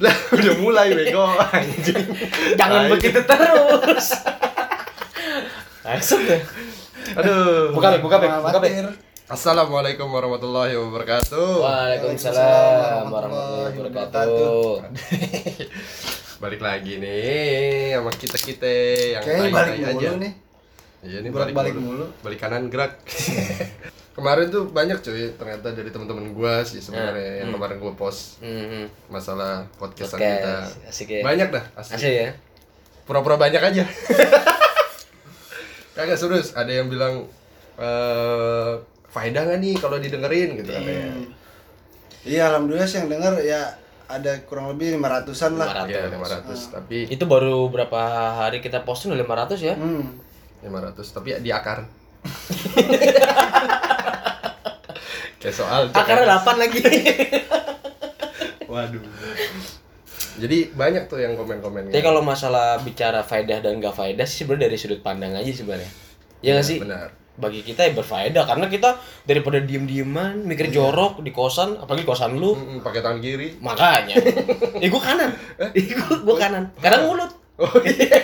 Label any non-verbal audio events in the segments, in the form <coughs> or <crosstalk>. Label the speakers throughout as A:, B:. A: Lah udah
B: <laughs>
A: mulai bego anjing.
B: Jangan
A: Tai.
B: begitu terus. Langsung deh.
A: Aduh.
B: Buka, Be. buka, Be. buka, Be.
C: Khawatir.
A: Assalamualaikum warahmatullahi wabarakatuh.
B: Waalaikumsalam
C: Waalaikumsalam
B: warahmatullahi
C: wabarakatuh.
B: wabarakatuh.
A: Balik lagi nih sama kita kita yang
C: Kayaknya balik
A: tai-tai
C: mulu nih.
A: Iya nih
C: Berat
A: balik,
C: balik
A: mulu.
C: mulu. Iya.
A: Balik kanan gerak. <laughs> kemarin tuh banyak cuy ternyata dari teman-teman gua sih sebenarnya
B: Ya.
A: yang
B: Hmm.
A: kemarin gua post
B: Hmm,
A: masalah podcastan
B: Podcast.
A: kita.
B: Asik ya.
A: Banyak dah
B: Asik
A: asli.
B: ya.
A: Pura-pura banyak aja. <laughs> Kagak serius, ada yang bilang eh faedah nggak nih kalau didengerin gitu katanya.
C: Iya, alhamdulillah sih yang denger ya ada kurang lebih 500-an lah.
B: 500.
A: Iya, 500 tapi
B: Itu baru berapa hari kita posting udah 500 ya?
C: Hmm.
A: 500 tapi ya di akar. Kayak soal cek
B: Akarnya 8 Ah, lagi.
A: Waduh. Jadi banyak tuh yang komen-komen.
B: <laughs> Tapi kalau masalah bicara faedah dan gak faedah sih sebenarnya dari sudut pandang aja sebenarnya. Ya nggak sih?
A: gitu. Iya, Benar.
B: Bagi kita ya berfaedah karena kita daripada diem-dieman mikir jorok di kosan, apalagi kosan lu.
A: Oh, iya. Mm-mm, pakai tangan kiri.
B: Makanya. eh gua kanan. Eh gua, gua kanan. Kadang mulut.
A: Oh
B: <laughs>
A: iya.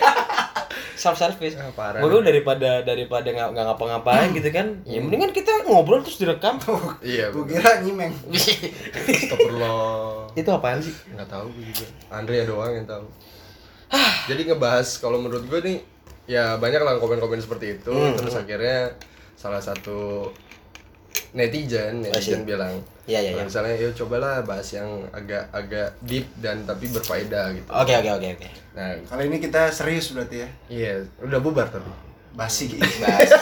B: Self service.
A: Ah, parah.
B: Gua daripada daripada nggak nggak ngapa-ngapain gitu kan. Ya mendingan kita ngobrol terus <laughs> direkam.
A: iya.
C: Gue
A: benar.
C: kira nyimeng.
A: Astagfirullah.
B: Itu apaan sih?
A: Nggak tahu gue juga. Andrea doang yang tahu. Jadi ngebahas kalau menurut gue nih ya banyak lah komen-komen seperti itu
B: Hmm.
A: terus akhirnya salah satu netizen netizen bilang
B: Iya, iya,
A: kalau
B: iya.
A: misalnya yuk cobalah bahas yang agak agak deep dan tapi berfaedah gitu
B: Oke oke oke oke.
A: nah
C: Kali ini kita serius berarti ya.
A: iya udah bubar tapi
C: Basi. gitu.
B: Basi.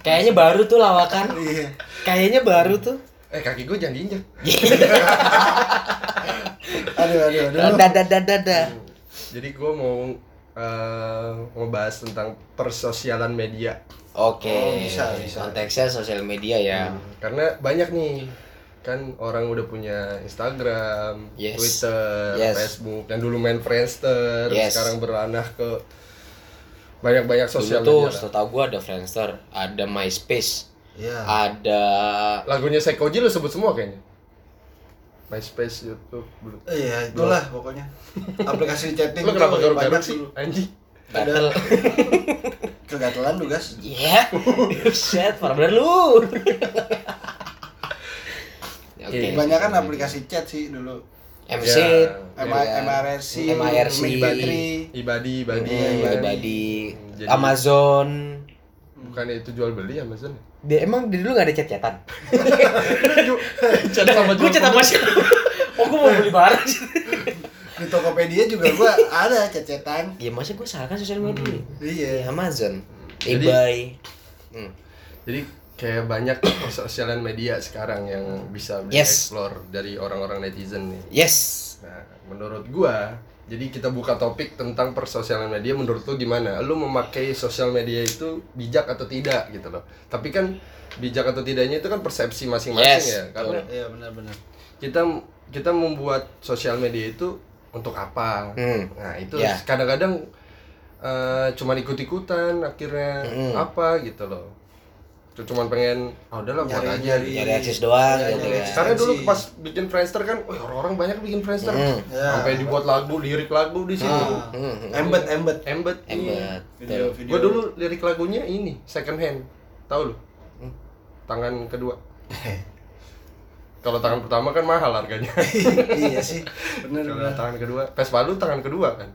B: Kayaknya baru tuh lawakan.
C: Iya.
B: Kayaknya baru tuh.
A: eh kaki gue jangan diinjak
C: Aduh, aduh, aduh.
B: Dada dada dada.
A: jadi gue mau eh, ngebahas tentang persosialan media
B: Oke.
C: Oh, bisa, bisa.
B: Konteksnya sosial media ya.
A: karena banyak nih kan orang udah punya Instagram,
B: Yes.
A: Twitter,
B: Yes.
A: Facebook yang dulu main Friendster
B: Yes.
A: sekarang beranah ke banyak-banyak
B: Dulu
A: sosial
B: tuh
A: media lah.
B: setahu gua ada Friendster, ada MySpace,
C: Iya.
B: ada
A: lagunya Sekoji lu sebut semua kayaknya MySpace, YouTube, Blue.
C: Iya, itulah pokoknya. Aplikasi chatting.
A: Lu kenapa
C: tuh
A: garuk-garuk
C: banyak
A: sih?
C: dulu.
A: Anjing.
B: Battle.
C: Kegatelan tuh, guys.
A: <laughs>
B: Ya. Set, parah bener lu.
A: Iya.
C: Banyak kan aplikasi chat sih dulu.
B: MC,
A: Ya.
B: Iya.
C: M- MRC,
B: MIRC,
A: Ibadi, Ibadi, Ibadi. Kan?
B: Iya, Ibadi,
A: Jadi-
B: Amazon.
A: Bukan itu jual beli ya, Amazon.
B: Dia emang di dulu gak ada chat-chatan?
A: <laughs> Chat <laughs> sama
B: Gue
A: jual
B: chat
A: beli.
B: apa sih? Oh, gue mau beli
A: <laughs>
B: barang sih.
C: Di Tokopedia juga gua ada chat-chatan.
B: Ya masa gue salah kan sosial media?
C: Iya.
B: Ya, Amazon,
A: Hmm. Jadi-
B: eBay. Hmm.
A: Jadi kayak banyak sosialan media sekarang yang bisa
B: Yes.
A: dieksplor dari orang-orang netizen nih.
B: Yes.
A: Nah, menurut gua, jadi kita buka topik tentang persosialan media menurut lu gimana? Lu memakai sosial media itu bijak atau tidak gitu loh. Tapi kan bijak atau tidaknya itu kan persepsi masing-masing
B: Yes,
A: ya. Karena
C: Iya, benar-benar.
A: kita kita membuat sosial media itu untuk apa?
B: Hmm.
A: Nah, itu
B: Ya.
A: kadang-kadang eh, cuman ikut-ikutan akhirnya
B: Hmm.
A: apa gitu loh. Cu- Cuman pengen, ah udahlah buat
C: Nyari-
A: aja.
C: nyari.
B: nyari akses doang
C: Iya,
B: gitu
C: iya.
B: kan.
A: Karena dulu
C: Sensi.
A: pas bikin Friendster kan, wih orang-orang banyak bikin Friendster.
B: Hmm.
C: Ya.
A: Sampai dibuat lagu, lirik lagu di sini.
C: Ah.
B: Hmm, hmm.
C: Embed, embed.
A: Embed.
B: Embed.
C: Video, video.
A: Gue dulu lirik lagunya ini, second hand. Tahu lu?
C: Hmm.
A: Tangan kedua. Kalau tangan pertama kan mahal harganya.
C: <laughs> iya sih, bener
A: Kalau
C: bener.
A: tangan kedua, Vespa lu tangan kedua kan.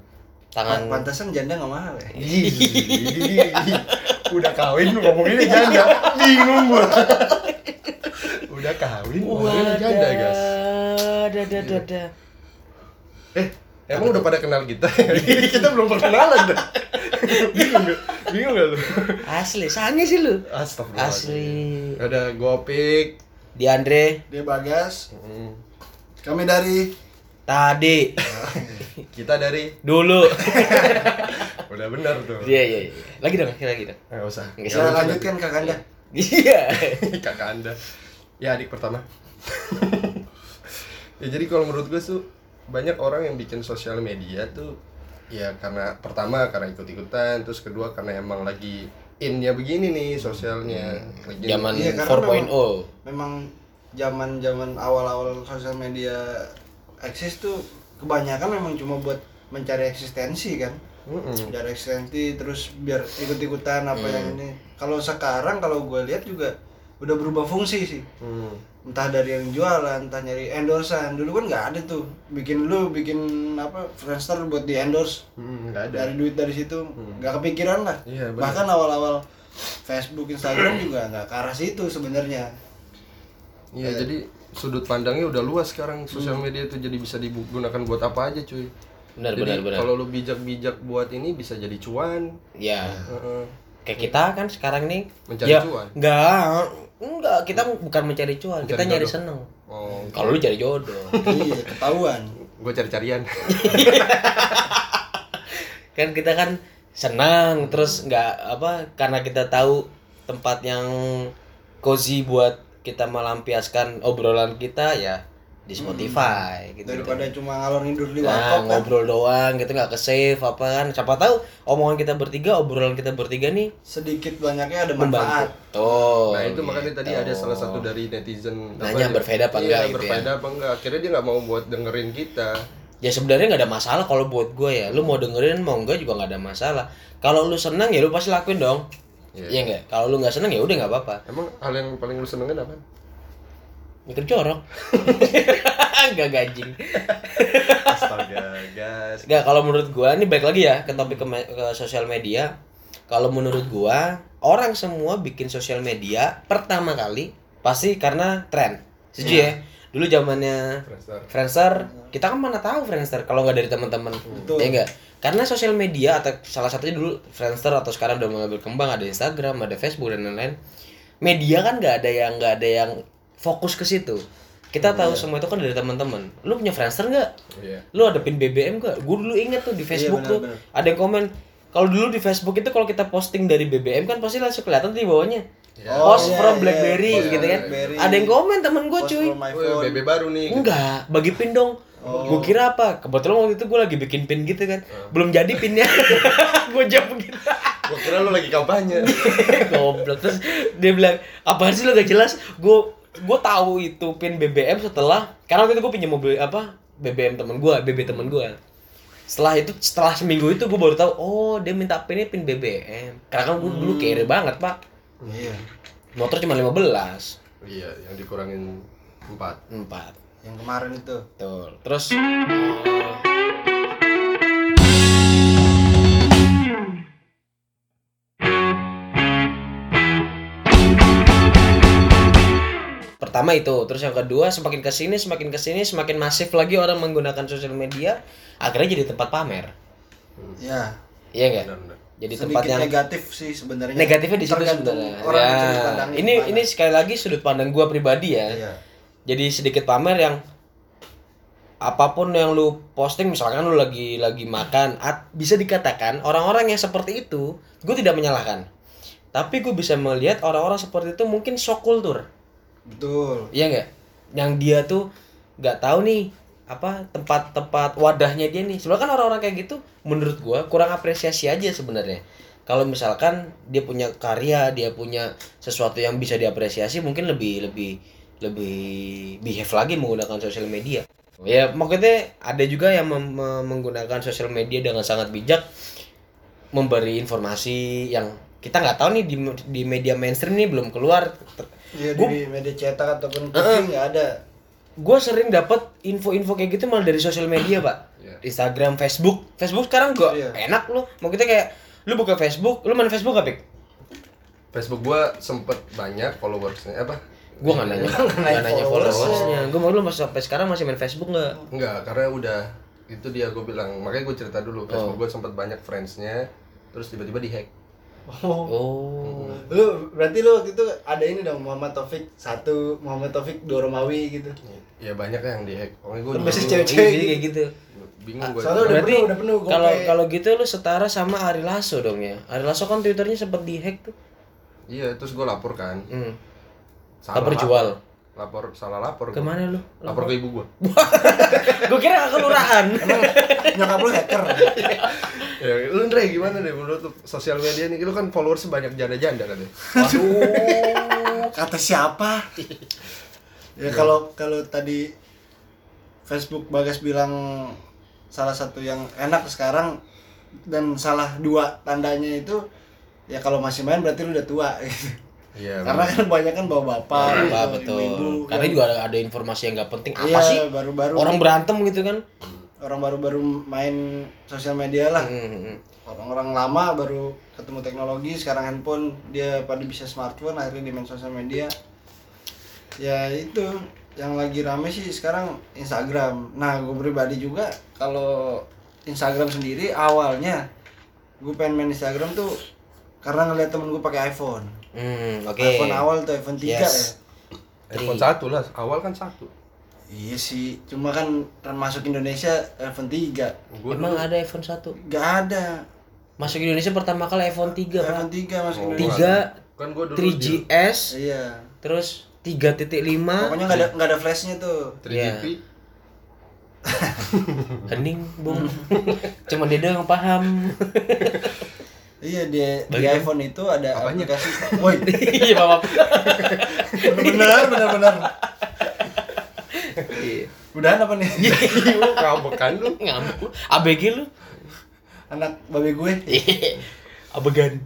B: Tangan
C: Pantasan janda nggak mahal ya. Iya.
A: <laughs> Udah kawin lu ngomong ini janda. Bingung
C: <laughs>
A: gua. Udah kawin ngomong ini janda, iya, guys.
B: Da da da da.
A: Eh, emang udah pada kenal kita? <laughs> kita belum perkenalan
C: <laughs>
A: dah. Bingung gak? Bingung gak lu?
B: Asli, sange sih lu.
A: Astagfirullah.
B: Asli.
A: Ada Gopik.
B: Di Andre
C: Dia bagas.
A: Hmm.
C: Kami dari
B: tadi
A: Kita dari
B: dulu.
A: udah benar tuh.
B: <laughs>
A: Eh,
B: Iya iya iya. Lagi dong, lagi dong.
A: Nggak usah.
B: Nggak
C: saya lanjutkan kak Anda.
B: Iya.
A: <laughs> Kakak Anda. Ya adik pertama. <laughs> ya jadi kalau menurut gue tuh banyak orang yang bikin sosial media tuh ya karena pertama karena ikut-ikutan, terus kedua karena emang lagi innya begini nih sosialnya. Lagi
B: Hmm. Zaman
C: Iya, karena
B: 4.0.
C: Memang zaman zaman awal awal sosial media eksis tuh kebanyakan memang cuma buat mencari eksistensi kan
B: Hmm.
C: mencari eksistensi terus biar ikut-ikutan apa yang ini kalau sekarang kalau gue lihat juga udah berubah fungsi sih
A: Hmm.
C: entah dari yang jualan entah nyari endorsean dulu kan nggak ada tuh bikin lu bikin apa Friendster buat di endorse
A: Hmm, nggak ada.
C: dari duit dari situ
B: Hmm.
C: nggak kepikiran lah
A: Iya, bener.
C: bahkan awal-awal Facebook Instagram juga nggak ke arah situ sebenarnya
A: Iya, jadi sudut pandangnya udah luas sekarang. Sosial media itu jadi bisa digunakan buat apa aja, cuy.
B: Hmm. Benar,
A: jadi
B: benar, benar.
A: kalau lu bijak-bijak buat ini bisa jadi cuan.
B: <laughs> Ya.
A: Heeh.
B: Kayak kita kan sekarang nih
A: Mencari
B: ya,
A: cuan.
B: Enggak, enggak, kita bukan mencari cuan, kita
A: Mencari
B: nyari
A: jodoh.
B: seneng.
A: Oh,
B: Kalau lu cari jodoh.
C: iya ketahuan
B: Gitu,
A: gue cari-carian.
B: <laughs>
A: Nah,
B: kan kita kan senang terus nggak apa karena kita tahu tempat yang cozy buat kita melampiaskan obrolan kita ya di Spotify gitu.
C: daripada cuma ngalor ngidur di
B: Nah,
C: warkop kan
B: ngobrol doang gitu nggak ke save apa kan siapa tahu omongan kita bertiga obrolan kita bertiga nih
C: sedikit banyaknya ada manfaat
B: membantu tuh
A: Nah itu
B: gitu.
A: makanya tadi ada salah satu dari netizen dia-
B: Nanya berbeda apa
A: iya,
B: enggak gitu ya.
A: berbeda apa enggak Akhirnya dia nggak mau buat dengerin kita
B: ya sebenarnya nggak ada masalah kalau buat gue ya lu mau dengerin mau enggak juga nggak ada masalah kalau lu senang ya lu pasti lakuin dong
A: Iya.
B: Iya nggak kalau lu nggak senang ya udah nggak apa-apa
A: Emang hal yang paling lu senengin apa?
B: mikir
A: <laughs>
B: jorok <laughs> nggak gajing
A: Astaga guys
B: nggak kalau menurut gua ini balik lagi ya ke topik ke, me- ke sosial media kalau menurut gua orang semua bikin sosial media pertama kali pasti karena tren setuju ya dulu
A: Iya.
B: zamannya
A: Friendster.
B: Friendster kita kan mana tahu Friendster kalau nggak dari teman-teman
C: Betul.
B: ya enggak karena sosial media atau salah satunya dulu Friendster atau sekarang udah mulai berkembang ada Instagram ada Facebook dan lain-lain media kan nggak ada yang nggak ada yang fokus ke situ kita tahu semua itu kan dari teman-teman lu punya Friendster nggak
A: Iya
B: lu ada pin BBM gak? Gue dulu inget tuh di
C: Iya,
B: Facebook
C: benar,
B: tuh
C: benar.
B: ada yang komen kalau dulu di Facebook itu kalau kita posting dari BBM kan pasti langsung kelihatan tuh di bawahnya.
C: Oh,
B: post
C: iya,
B: from
C: iya.
B: BlackBerry
C: Post
B: gitu kan.
C: from BlackBerry.
B: Ada yang komen temen gue
C: Post
B: cuy.
C: from Oh. my
A: <laughs> Woi,
C: phone.
A: BB baru nih
B: Enggak, bagi pin dong. Gue kira apa? Kebetulan waktu itu gue lagi bikin pin gitu kan.
C: Oh.
B: Belum jadi pinnya.
C: <laughs>
B: gue jawab gitu.
A: Gue kira lu lagi kampanye
B: <laughs> Goblok terus dia bilang, "Apaan sih lo gak jelas?" Gue gue tahu itu pin BBM setelah karena waktu itu gue pinjam mobil apa BBM temen gue, BB temen gue. Setelah itu setelah seminggu itu gue baru tahu, oh dia minta pinnya pin BBM. Karena kan gue dulu kere banget pak,
C: iya
B: motor cuma 15
A: <laughs> Iya yang dikurangin empat
B: empat.
C: yang kemarin itu
B: Betul. Terus eh, pertama itu terus yang kedua semakin kesini semakin kesini semakin masif lagi orang menggunakan sosial media akhirnya jadi tempat pamer
C: ya
B: iya enggak
A: Benar-benar
B: jadi tempat
C: sedikit
B: yang
C: negatif sih sebenarnya
B: negatifnya di situ
C: Tergantung
B: sebenarnya
C: orang
B: ya
C: sudut pandangnya
B: ini
C: gimana.
B: ini sekali lagi sudut pandang gua pribadi ya
C: iya
B: jadi sedikit pamer yang apapun yang lu posting misalkan lu lagi lagi makan at- bisa dikatakan orang-orang yang seperti itu gue tidak menyalahkan tapi gue bisa melihat orang-orang seperti itu mungkin shock kultur
C: betul
B: iya nggak yang dia tuh nggak tahu nih apa tempat-tempat wadahnya dia nih sebenarnya kan orang-orang kayak gitu menurut gua kurang apresiasi aja sebenarnya kalau misalkan dia punya karya dia punya sesuatu yang bisa diapresiasi mungkin lebih lebih lebih behave lagi menggunakan sosial media ya maksudnya ada juga yang mem- me- menggunakan sosial media dengan sangat bijak memberi informasi yang kita nggak tahu nih di di media mainstream nih belum keluar Ter-
C: iya
B: Gua-
C: di media cetak ataupun TV nggak ada
B: gue sering dapat info-info kayak gitu malah dari sosial media pak
A: Iya.
B: Instagram Facebook Facebook sekarang gak
C: Iya.
B: enak lu mau kita kayak lu buka Facebook lu main Facebook gak pik
A: Facebook gua sempet banyak followersnya eh, apa?
B: gue
A: <laughs>
B: nggak nanya
C: nanya
B: nggak nanya
C: followersnya.
B: followersnya gue mau lu masih sampai sekarang masih main Facebook nggak
A: Enggak karena udah itu dia gue bilang makanya gue cerita dulu Facebook
B: Oh.
A: gua sempet banyak friendsnya terus tiba-tiba dihack
C: oh.
B: oh
C: lu berarti lu waktu itu ada ini dong Muhammad Taufik satu Muhammad Taufik Doromawi gitu
A: ya banyak yang dihack pokoknya gue
C: Terus
A: bingung,
C: cewek-
B: Iya, jadi kayak gitu
A: bingung gue
C: Soalnya udah
B: berarti
C: penuh, udah penuh, gua
B: kalau
C: kayak-
B: kalau gitu lu setara sama Ari Lasso dong ya Ari Lasso kan twitternya sempet dihack tuh
A: iya terus gue lapor kan
B: hmm.
A: Salah
B: Lapor
A: lapor.
B: jual.
A: lapor salah lapor gua.
B: kemana lu
A: lapor ke ibu gua
B: gue kira ke kelurahan gitu.
C: nyokap lu hacker
A: ya, lu Andre gimana deh menurut lu sosial media nih lu kan followers sebanyak janda-janda kan ya
B: waduh <laughs>
C: kata siapa ya kalau kalau tadi Facebook Bagas bilang salah satu yang enak sekarang dan salah dua tandanya itu ya kalau masih main berarti lu udah tua <laughs> gitu.
A: Iya.
C: Karena kan banyak kan bawa bapak,
B: Apa
C: gitu,
B: betul.
C: ibu-ibu,
B: Karena
C: kan.
B: juga ada, ada informasi yang nggak penting apa
C: Iya,
B: sih?
C: baru-baru
B: Orang berantem gitu kan?
C: orang baru-baru main sosial media lah.
B: Hmm.
C: Orang-orang lama baru ketemu teknologi, sekarang handphone dia pada bisa smartphone akhirnya di main sosial media. Ya itu yang lagi rame sih sekarang Instagram. Nah, gue pribadi juga kalau Instagram sendiri awalnya gue pengen main Instagram tuh karena ngeliat temen gue pakai iPhone.
B: Hmm, oke.
C: iPhone awal tuh iPhone 3
B: Yes.
C: ya.
A: iPhone satu lah, awal kan satu.
C: Iya sih, cuma kan masuk Indonesia iPhone 3
A: Gua
B: Emang
A: dulu-
B: ada iPhone 1.
C: Gak ada
B: Masuk Indonesia pertama kali iPhone 3, Pak.
C: iPhone 3 masuk
A: Oh,
C: Indonesia
B: Tiga,
A: kan gua dulu
B: 3GS,
C: Iya
B: terus 3.5.
C: Pokoknya gak ada, nggak ada flashnya tuh
A: 3GP.
B: Iya.
A: <laughs>
B: Hening, Bung.
C: Hmm.
B: <laughs> Cuma dia doang yang paham. <laughs>
C: Iya di, di
B: Bagi-
C: iPhone itu ada
A: Apanya?
C: aplikasi Woi
B: Iya, Bapak.
C: bener bener bener
B: Iya.
C: Udahan apa nih?
A: Lu kabekan Iya, lu.
B: Ngamuk. ABG lu.
C: Anak babe gue
B: Abegan.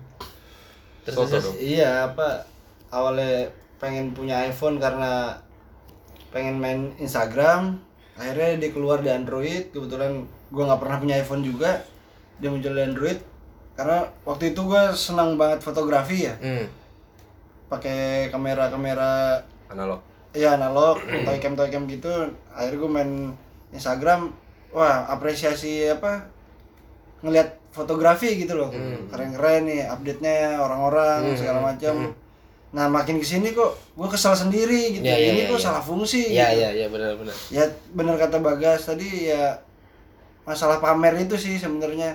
B: Terus,
A: Soto
B: terus.
A: dong.
C: Iya apa Awalnya pengen punya iPhone karena Pengen main Instagram Akhirnya dia keluar di Android Kebetulan gue gak pernah punya iPhone juga Dia muncul di Android Karena waktu itu gue senang banget fotografi ya
B: Hmm.
C: pakai kamera-kamera
A: Analog.
C: ya analog toy cam toy cam gitu akhirnya gue main Instagram wah apresiasi apa ngelihat fotografi gitu loh
B: Hmm.
C: keren-keren nih update nya orang-orang segala
B: Hmm.
C: macam nah makin kesini kok gue kesal sendiri gitu
B: Ya, ya,
C: ini kok
B: ya, ya.
C: salah fungsi
B: Iya,
C: gitu.
B: iya, iya, benar, benar.
C: ya bener kata Bagas tadi ya masalah pamer itu sih sebenarnya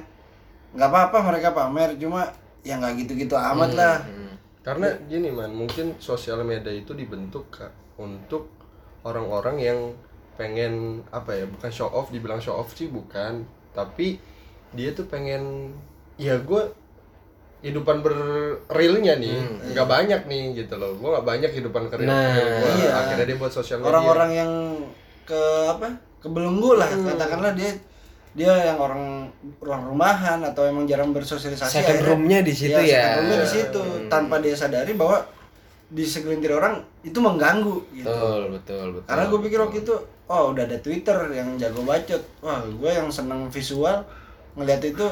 C: nggak apa-apa mereka pamer cuma ya nggak gitu-gitu amat
B: Hmm.
C: lah
A: Karena
C: Iya.
A: gini man, mungkin sosial media itu dibentuk Kak, untuk orang-orang yang pengen apa ya, bukan show off, dibilang show off sih bukan, tapi dia tuh pengen ya gue kehidupan berrealnya nih
C: Hmm, iya.
A: nggak banyak nih gitu loh gue nggak banyak kehidupan real
B: Nah.
A: gue
C: Iya.
A: akhirnya dia buat sosial media
C: orang-orang yang ke apa kebelenggu lah katakanlah dia dia yang orang orang rumahan atau emang jarang bersosialisasi
B: Second
C: akhirnya-
B: room-nya di situ ya.
C: Iya, second room-nya di situ
B: Hmm.
C: tanpa dia sadari bahwa di segelintir orang itu mengganggu gitu
B: Betul, betul, betul.
C: karena gue pikir waktu itu oh udah ada twitter yang jago bacot wah gue yang seneng visual ngeliat itu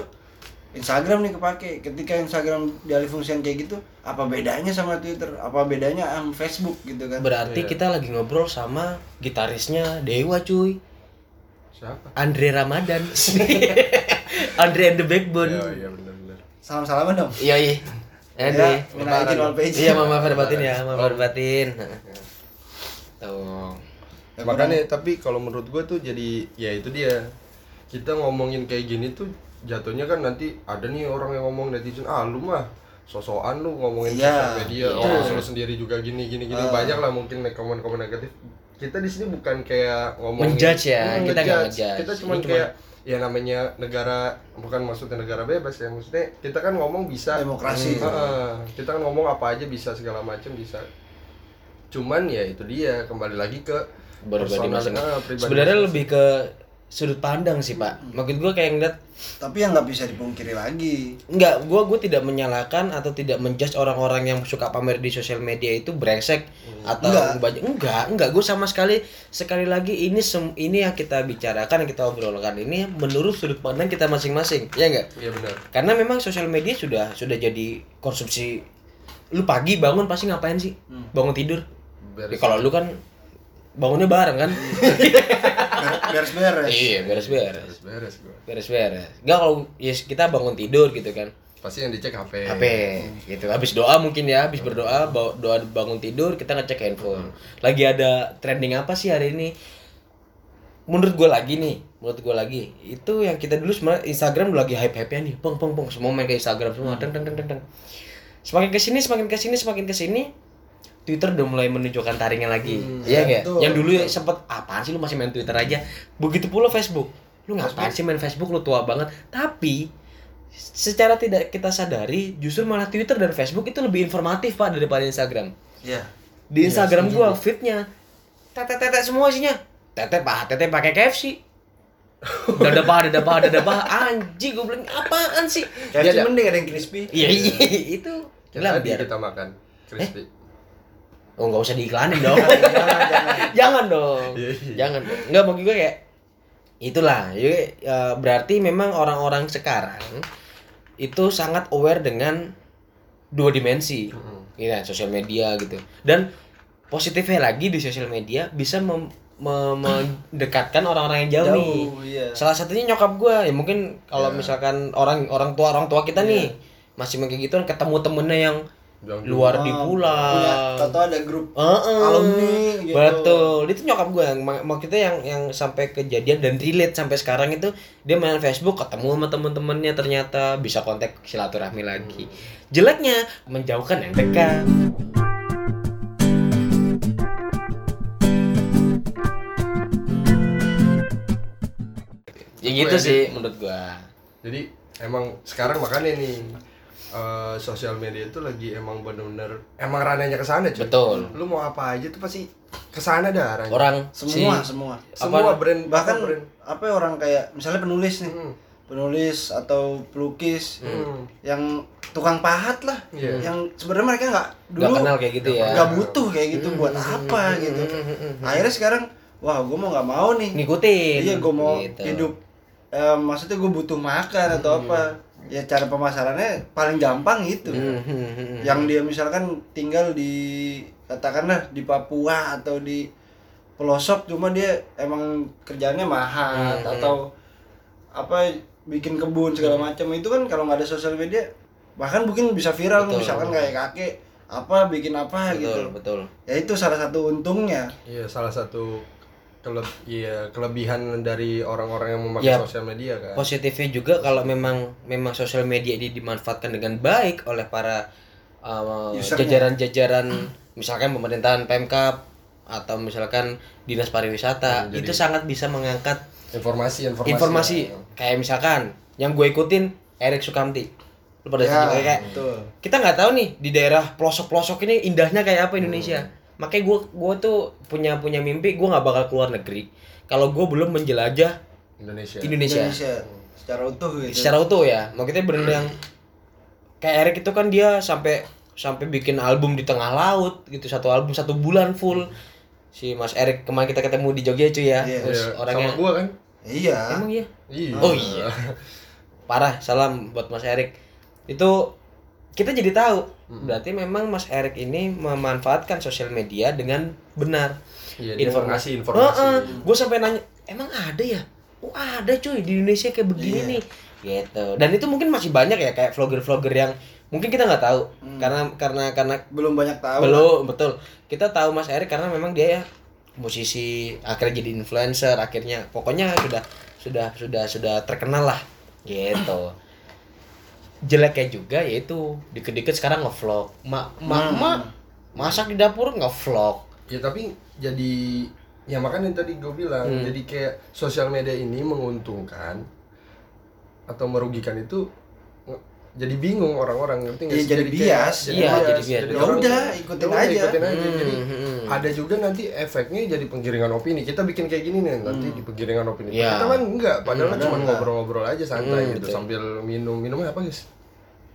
C: Instagram nih kepake ketika Instagram dialih fungsian kayak gitu apa bedanya sama Twitter apa bedanya sama Facebook gitu kan
B: Berarti kita lagi ngobrol sama gitarisnya Dewa cuy
A: siapa
B: Andre Ramadan
C: <laughs>
B: Andre and the Backbone
A: ya iya benar-benar
C: salam-salaman dong
B: Iya iya Andre
C: Ya, minal aidin wal faizin.
B: Iya mama verbatin ya mama verbatin Tuh
C: Ya,
A: makanya tapi kalau menurut gue tuh jadi ya itu dia kita ngomongin kayak gini tuh jatuhnya kan nanti ada nih orang yang ngomong netizen ah lu mah sosokan lu ngomongin
C: Iya.
A: sosial media orang lu sendiri juga gini gini gini banyak lah mungkin komen-komen negatif kita di sini bukan kayak ngomongin Hmm,
B: Menjudge ya, kita nggak ngejudge.
A: kita
B: Ini
A: cuman
B: cuman-
A: kayak ya namanya negara bukan maksudnya negara bebas ya maksudnya kita kan ngomong bisa
C: Demokrasi.
A: Heeh. kita kan ngomong apa aja bisa segala macam bisa cuman ya itu dia kembali lagi ke
B: Berbagi
A: personal-
B: masing
C: eh,
A: ah, pribadi
B: Sebenarnya
A: masing-masing.
B: lebih ke sudut pandang sih pak
C: Hmm.
B: Maksud gue kayak ngeliat
C: tapi yang nggak bisa dipungkiri lagi
B: Enggak, gue gue tidak menyalahkan atau tidak menjudge orang-orang yang suka pamer di sosial media itu brengsek atau
C: Enggak.
B: banyak enggak enggak gue sama sekali sekali lagi ini sem ini yang kita bicarakan yang kita obrolkan ini menurut sudut pandang kita masing-masing ya enggak
A: iya benar
B: karena memang sosial media sudah sudah jadi konsumsi lu pagi bangun pasti ngapain sih bangun tidur
A: Beres.
B: Ya, kalau lu kan bangunnya bareng kan
C: beres-beres
B: iya beres-beres
A: beres gue
B: beres-beres enggak kalau ya kita bangun tidur gitu kan
A: pasti yang dicek HP
B: HP gitu. Habis doa mungkin ya, habis berdoa, bawa- doa bangun tidur kita ngecek handphone. Lagi ada trending apa sih hari ini? Menurut gue lagi nih, menurut gue lagi itu yang kita dulu sebenarnya Instagram lagi hype-hype nih. Pong pong pong semua main ke Instagram semua. Deng deng deng deng. deng. Semakin ke sini, semakin ke sini, semakin ke sini Twitter udah mulai menunjukkan taringnya lagi. Iya nggak?
C: betul.
B: Yang dulu ya sempet apaan sih lu masih main Twitter aja. Begitu pula Facebook. Lu ngapain sih main Facebook lu tua banget. Tapi secara tidak kita sadari justru malah Twitter dan Facebook itu lebih informatif Pak daripada Instagram.
C: ya
B: Di Instagram gua feednya tetet-tetet semua isinya Teteh paha, teteh pakai <laughs> KFC. Dada paha, dada paha, dada paha. Anjing gue bilang apaan sih?
C: KFC
A: Iya, iya.
C: mending ada yang crispy.
B: Iya, iya, <laughs> gitu. itu.
A: Yang
B: Gila
A: tadi
B: biar. Eh?
A: kita makan crispy.
B: Oh, nggak usah diiklanin <laughs> dong.
C: Jangan, jangan.
B: Jangan dong.
A: Iya, iya.
B: Jangan. Enggak mau juga kayak itulah. Jadi, eh, berarti memang orang-orang sekarang itu sangat aware dengan dua dimensi.
A: Mm-mm.
B: Iya, sosial media gitu. Dan positifnya lagi di sosial media bisa mem- me- mendekatkan orang-orang yang jauh, nih.
C: Jauh, iya.
B: Salah satunya nyokap gua ya mungkin kalau
A: Ya.
B: misalkan orang orang tua orang tua kita nih masih kayak gitu kan ketemu temennya Iya. yang
A: Bilang dulu.
B: luar di
C: Oh,
B: pulang.
C: punya- Tahu-tahu ada grup
B: Heeh.
C: Alumni, gitu.
B: Betul. Itu nyokap gue yang mak- maksudnya yang yang sampai kejadian dan relate sampai sekarang itu dia main Facebook ketemu sama temen-temennya ternyata bisa kontak silaturahmi lagi. Jeleknya menjauhkan yang dekat. Ya gitu
A: Gua edit.
B: sih menurut gua.
A: Jadi emang sekarang makanya nih eh, sosial media itu lagi emang bener-bener emang ranahnya ke sana cuy.
B: Betul.
A: Lu mau apa aja tuh pasti ke sana dah arahnya.
B: Orang
C: semua,
B: si-
C: semua.
A: Semua
B: apa-
A: brand
C: Bahkan Hmm.
A: brand.
C: apa ya, orang kayak misalnya penulis nih,
A: Mm,
C: penulis atau pelukis
B: Hmm.
A: mm.
C: yang tukang pahat lah,
A: Iya.
C: yang sebenarnya mereka nggak
B: nggak
C: dulu
B: kenal Hmm. kayak gitu ya. Hmm,
C: nggak butuh kayak gitu buat apa gitu. Akhirnya sekarang, wah gue mau nggak mau nih,
B: Ngikutin.
C: iya gue mau
B: Gitu.
C: hidup Eh, maksudnya gue butuh makan atau apa ya
B: Iya.
C: cara pemasarannya paling gampang gitu
B: Mhm.
C: yang dia misalkan tinggal di katakanlah di Papua atau di pelosok cuma dia emang kerjaannya mahat
B: Hmm,
C: atau apa bikin kebun segala macam itu kan kalau nggak ada sosial media bahkan mungkin bisa viral
B: Betul.
C: misalkan kayak kakek apa bikin apa gitu
B: betul betul
C: ya itu salah satu untungnya
A: Iya, salah satu kele- iya, kelebihan dari orang-orang yang memakai
B: Iya.
A: sosial media kan.
B: positifnya juga kalau memang memang sosial media ini dimanfaatkan dengan baik oleh para uh,
C: Usernya.
B: jajaran-jajaran misalkan pemerintahan Pemkab atau misalkan dinas pariwisata
A: Hmm, jadi-
B: itu sangat bisa mengangkat
A: Informasi, informasi.
B: informasi
C: ya.
B: kayak misalkan yang gue ikutin Erik Sukamti lu pada
C: ya
B: setuju? kayak
C: betul
B: kita nggak tahu nih di daerah pelosok-pelosok ini indahnya kayak apa Indonesia. Makanya gue gua tuh punya punya mimpi gue nggak bakal keluar negeri kalau gue belum menjelajah
A: Indonesia.
B: Indonesia.
C: Indonesia secara utuh gitu
B: Secara utuh ya. Maksudnya bener yang kayak Erik itu kan dia sampai sampai bikin album di tengah laut gitu satu album satu bulan full si Mas Erik kemarin kita ketemu di Jogja cuy ya
C: Iya.
B: terus
A: Iya,
B: orangnya
A: sama gua kan.
C: iya
B: emang iya
A: Iya.
B: Oh iya. Parah, salam buat Mas Erik. Itu kita jadi tahu.
C: Hmm.
B: Berarti memang Mas Erik ini memanfaatkan sosial media dengan benar.
A: Iya, dia informasi, informasi.
B: Gue sampai nanya, emang ada ya? Oh ada cuy di Indonesia kayak begini
C: Iya.
B: nih. Gitu. Dan itu mungkin masih banyak ya kayak vlogger-vlogger yang mungkin kita nggak tahu
C: Hmm.
B: karena karena karena
C: belum banyak tahu
B: belum betul kita tahu Mas Erik karena memang dia ya musisi akhirnya jadi influencer akhirnya pokoknya sudah sudah sudah sudah terkenal lah
C: <coughs>
B: gitu jeleknya juga yaitu dikit-dikit sekarang ngevlog mak mak
C: Hmm.
B: mak masak di dapur ngevlog
A: Ya tapi jadi ya makanya tadi gue bilang
B: Hmm.
A: jadi kayak sosial media ini menguntungkan atau merugikan itu nge- jadi bingung orang-orang ngerti nggak
C: Iya,
A: sih?
C: jadi
A: kayak-
C: bias.
B: Iya, jadi bias.
A: Jadi
C: Ya
A: orang-
C: udah, ikutin
A: ya udah,
C: aja.
A: ikutin aja.
B: Hmm,
A: Jadi
B: hmm.
A: ada juga nanti efeknya jadi penggiringan opini. Kita bikin kayak gini nih nanti di penggiringan opini.
B: Hmm. Iya.
A: Kita kan enggak, padahal
C: Hmm,
A: cuma
C: enggak.
A: ngobrol-ngobrol aja santai
B: Hmm,
A: gitu
B: betul.
A: sambil minum. Minumnya apa, guys?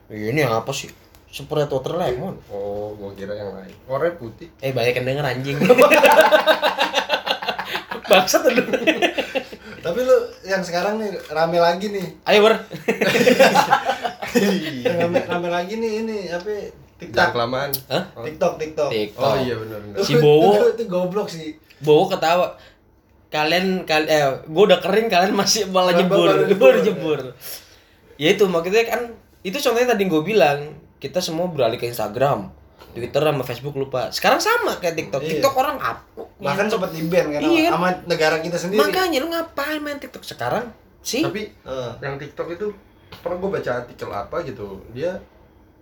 B: ini apa sih Sprite water lemon
A: Oh, gua kira yang lain. Warnanya putih. <laughs>
B: eh banyak yang denger anjing bangsat lu
C: tapi lu yang sekarang nih rame lagi nih
B: ayo ber
C: Yang rame, rame lagi nih ini apa
A: Jangan
C: TikTok
A: kelamaan.
B: Hah?
A: Oh.
C: TikTok TikTok
B: TikTok
A: Oh iya benar benar.
B: Si Bowo.
C: Itu- itu goblok sih
B: Bowo ketawa. Kalian kal eh gua udah kering kalian masih malah
C: Baru-
B: jebur.
C: baru
B: Jebur
C: jebur,
B: jebur. Ya itu maksudnya kan itu contohnya tadi gua bilang, kita semua beralih ke Instagram, Twitter sama Facebook lupa. Sekarang sama kayak TikTok.
C: Iya.
B: TikTok orang apa?
C: bahkan sempat di ban kan
B: Iya.
C: sama negara kita sendiri
B: Makanya lu ngapain main TikTok sekarang? Sih?
A: Tapi
C: Eh,
A: yang TikTok itu pernah gue baca artikel apa gitu. Dia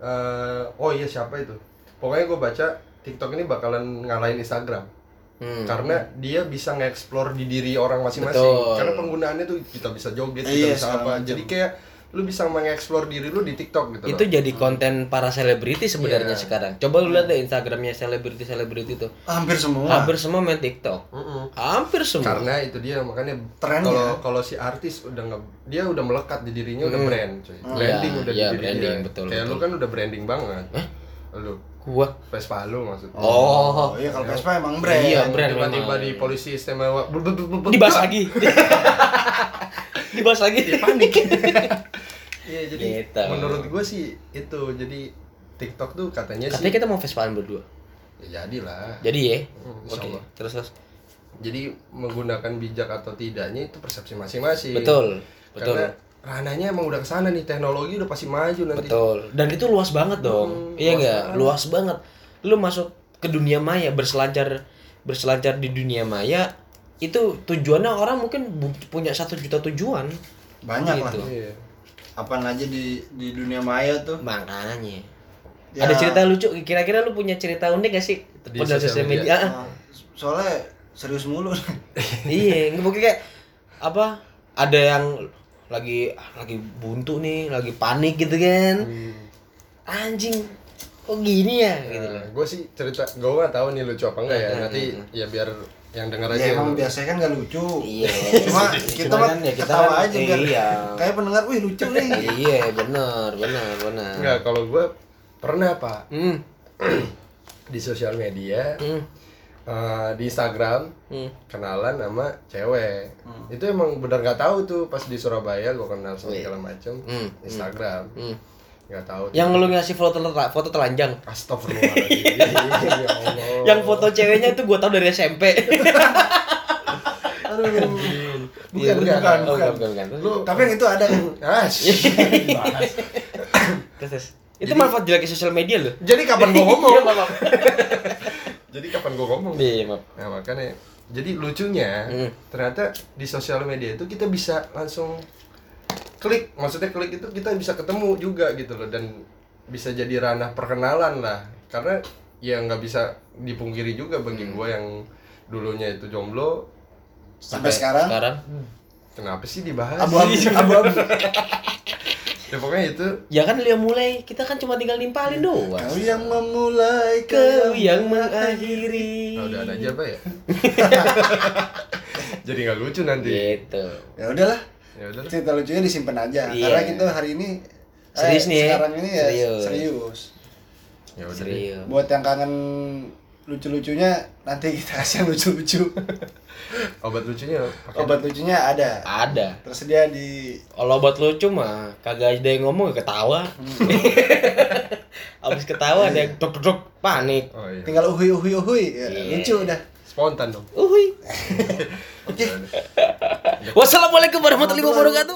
A: eh oh iya siapa itu? Pokoknya gue baca TikTok ini bakalan ngalahin Instagram
B: Hmm.
A: karena dia bisa nge-explore di diri orang
B: Betul.
A: masing-masing. Karena penggunaannya tuh kita bisa joget,
C: Eh,
A: kita
C: iya,
A: bisa
C: segala
A: apa.
C: macam.
A: Jadi kayak lu bisa mengeksplor diri lu di TikTok gitu.
B: itu
A: loh.
B: jadi konten para selebriti sebenarnya
A: Iya.
B: sekarang. Coba lu lihat deh Instagramnya selebriti-selebriti itu.
C: hampir semua
B: Hampir semua main TikTok.
A: Mm-mm.
B: hampir semua
A: karena itu dia makanya
B: Iya.
C: Trennya.
A: kalau kalau si artis udah nge- dia udah melekat di dirinya udah
B: Hmm.
A: brand cuy branding
B: Iya,
A: udah di
B: iya,
A: diri
B: branding,
A: dia
B: betul,
A: kayak
B: betul.
A: lu kan udah branding banget
B: Hah?
A: lu
B: gua
A: Vespa lu maksudnya
C: Oh
B: oh,
C: iya kalau Vespa emang brand.
B: Iya, brand.
A: tiba-tiba
B: memang.
A: di polisi istimewa bul- bul- bul- bul- bul-
B: Oh. dibahas lagi <laughs> dibahas lagi
A: Dia panik iya jadi
B: Gitu.
A: menurut gue sih itu jadi TikTok tuh katanya
B: katanya
A: sih
B: kita mau Vespaan berdua
A: ya jadilah
B: jadi ya
A: Hmm,
B: oke
A: insya Allah.
B: terus terus
A: jadi menggunakan bijak atau tidaknya itu persepsi masing-masing
B: betul betul
A: Iya. karena ranahnya emang udah kesana nih teknologi udah pasti maju nanti
B: betul dan itu luas banget dong
A: Hmm,
B: iya
A: luas
B: enggak
A: banget.
B: luas banget lu masuk ke dunia maya berselancar berselancar di dunia maya itu tujuannya orang mungkin bu- punya satu juta tujuan
C: Banyak lah.
B: Gitu.
A: Iya.
C: Apaan aja di di dunia maya tuh.
B: makanya
C: Ya,
B: ada cerita lucu kira-kira lu punya cerita unik gak sih
A: Di sosial
B: Padahal sosial
A: media. Ah.
B: media, Ah,
C: ah, Soalnya serius mulu.
B: <laughs> iya nggak mungkin kayak apa ada yang lagi lagi buntu nih lagi panik gitu kan
A: Hmm.
B: anjing kok gini ya gitu
A: Nah,
B: loh
A: gue sih cerita gue gak tahu nih lucu apa enggak ya
B: Hmm,
A: nanti
B: hmm,
A: ya biar yang denger aja
C: ya
A: yang-
C: emang biasanya kan gak lucu.
B: Iya. <laughs> ya
C: Cuma kita mah ketawa aja biar
B: Iya.
C: kayak pendengar, wih lucu nih.
B: iya, benar, benar, benar.
A: enggak kalau gue pernah pak
B: Hmm.
A: di sosial media
B: Hmm.
A: eh, di Instagram
B: Hmm.
A: kenalan sama cewek itu emang benar nggak tahu tuh pas di Surabaya gue kenal sama
B: Wih.
A: segala macem
B: Hmm.
A: Instagram
B: Hmm.
A: nggak tahu
B: Yang lu ngasih foto tel- foto telanjang.
A: Astagfirullahaladzim ya Allah
B: <laughs> Yang foto ceweknya itu gua tau dari <laughs> SMP.
A: bukan,
B: Iya,
A: bukan,
B: bukan,
A: bukan.
B: bukan, bukan, bukan.
A: Lu-
C: Tapi yang itu ada
B: <laughs>
C: kan.
A: Ah, shh, dibahas.
B: Terus, terus. Itu manfaat jelek sosial media loh.
A: jadi kapan gue
B: Iya,
A: ngomong
B: maaf.
A: jadi kapan gue ngomong
B: Iya, maaf.
A: Nah makanya jadi lucunya
B: Hmm.
A: ternyata di sosial media itu kita bisa langsung klik maksudnya klik itu kita bisa ketemu juga gitu loh dan bisa jadi ranah perkenalan lah karena ya nggak bisa dipungkiri juga bagi
B: Hmm.
A: gua yang dulunya itu jomblo
C: Sampai sekarang
B: Sekarang
A: kenapa sih dibahas
C: abu-abu
B: <laughs>
C: abu-abu.
A: ya pokoknya itu
B: ya kan lu yang mulai, kita kan cuma tinggal nimpalin doang.
C: Kau yang memulai
B: Kau yang mengakhiri.
A: nah, udah ada aja apa
B: <laughs>
A: ya jadi nggak lucu nanti
B: Gitu.
C: Ya udahlah,
A: ya udah lah.
C: cerita lucunya disimpan aja.
B: Iya.
C: Karena kita hari ini eh,
B: Serius nih ya?
C: Sekarang ini ya
B: Serius. Iya.
C: serius.
A: ya udah deh.
B: Serius.
C: Buat yang kangen lucu-lucunya nanti kita kasih yang lucu-lucu.
A: obat lucunya pakai
C: Obat lucunya ada.
B: Ada.
C: Tersedia di
B: Kalau buat lucu mah kagak ada yang ngomong ya ketawa. <laughs> Abis ketawa ada yang dok dok panik.
A: oh iya
C: tinggal uhui uhui uhui ya,
B: Iya.
C: lucu udah.
A: spontan dong Ya
B: Uhuy.
C: Oke.
B: Wassalamualaikum warahmatullahi wabarakatuh.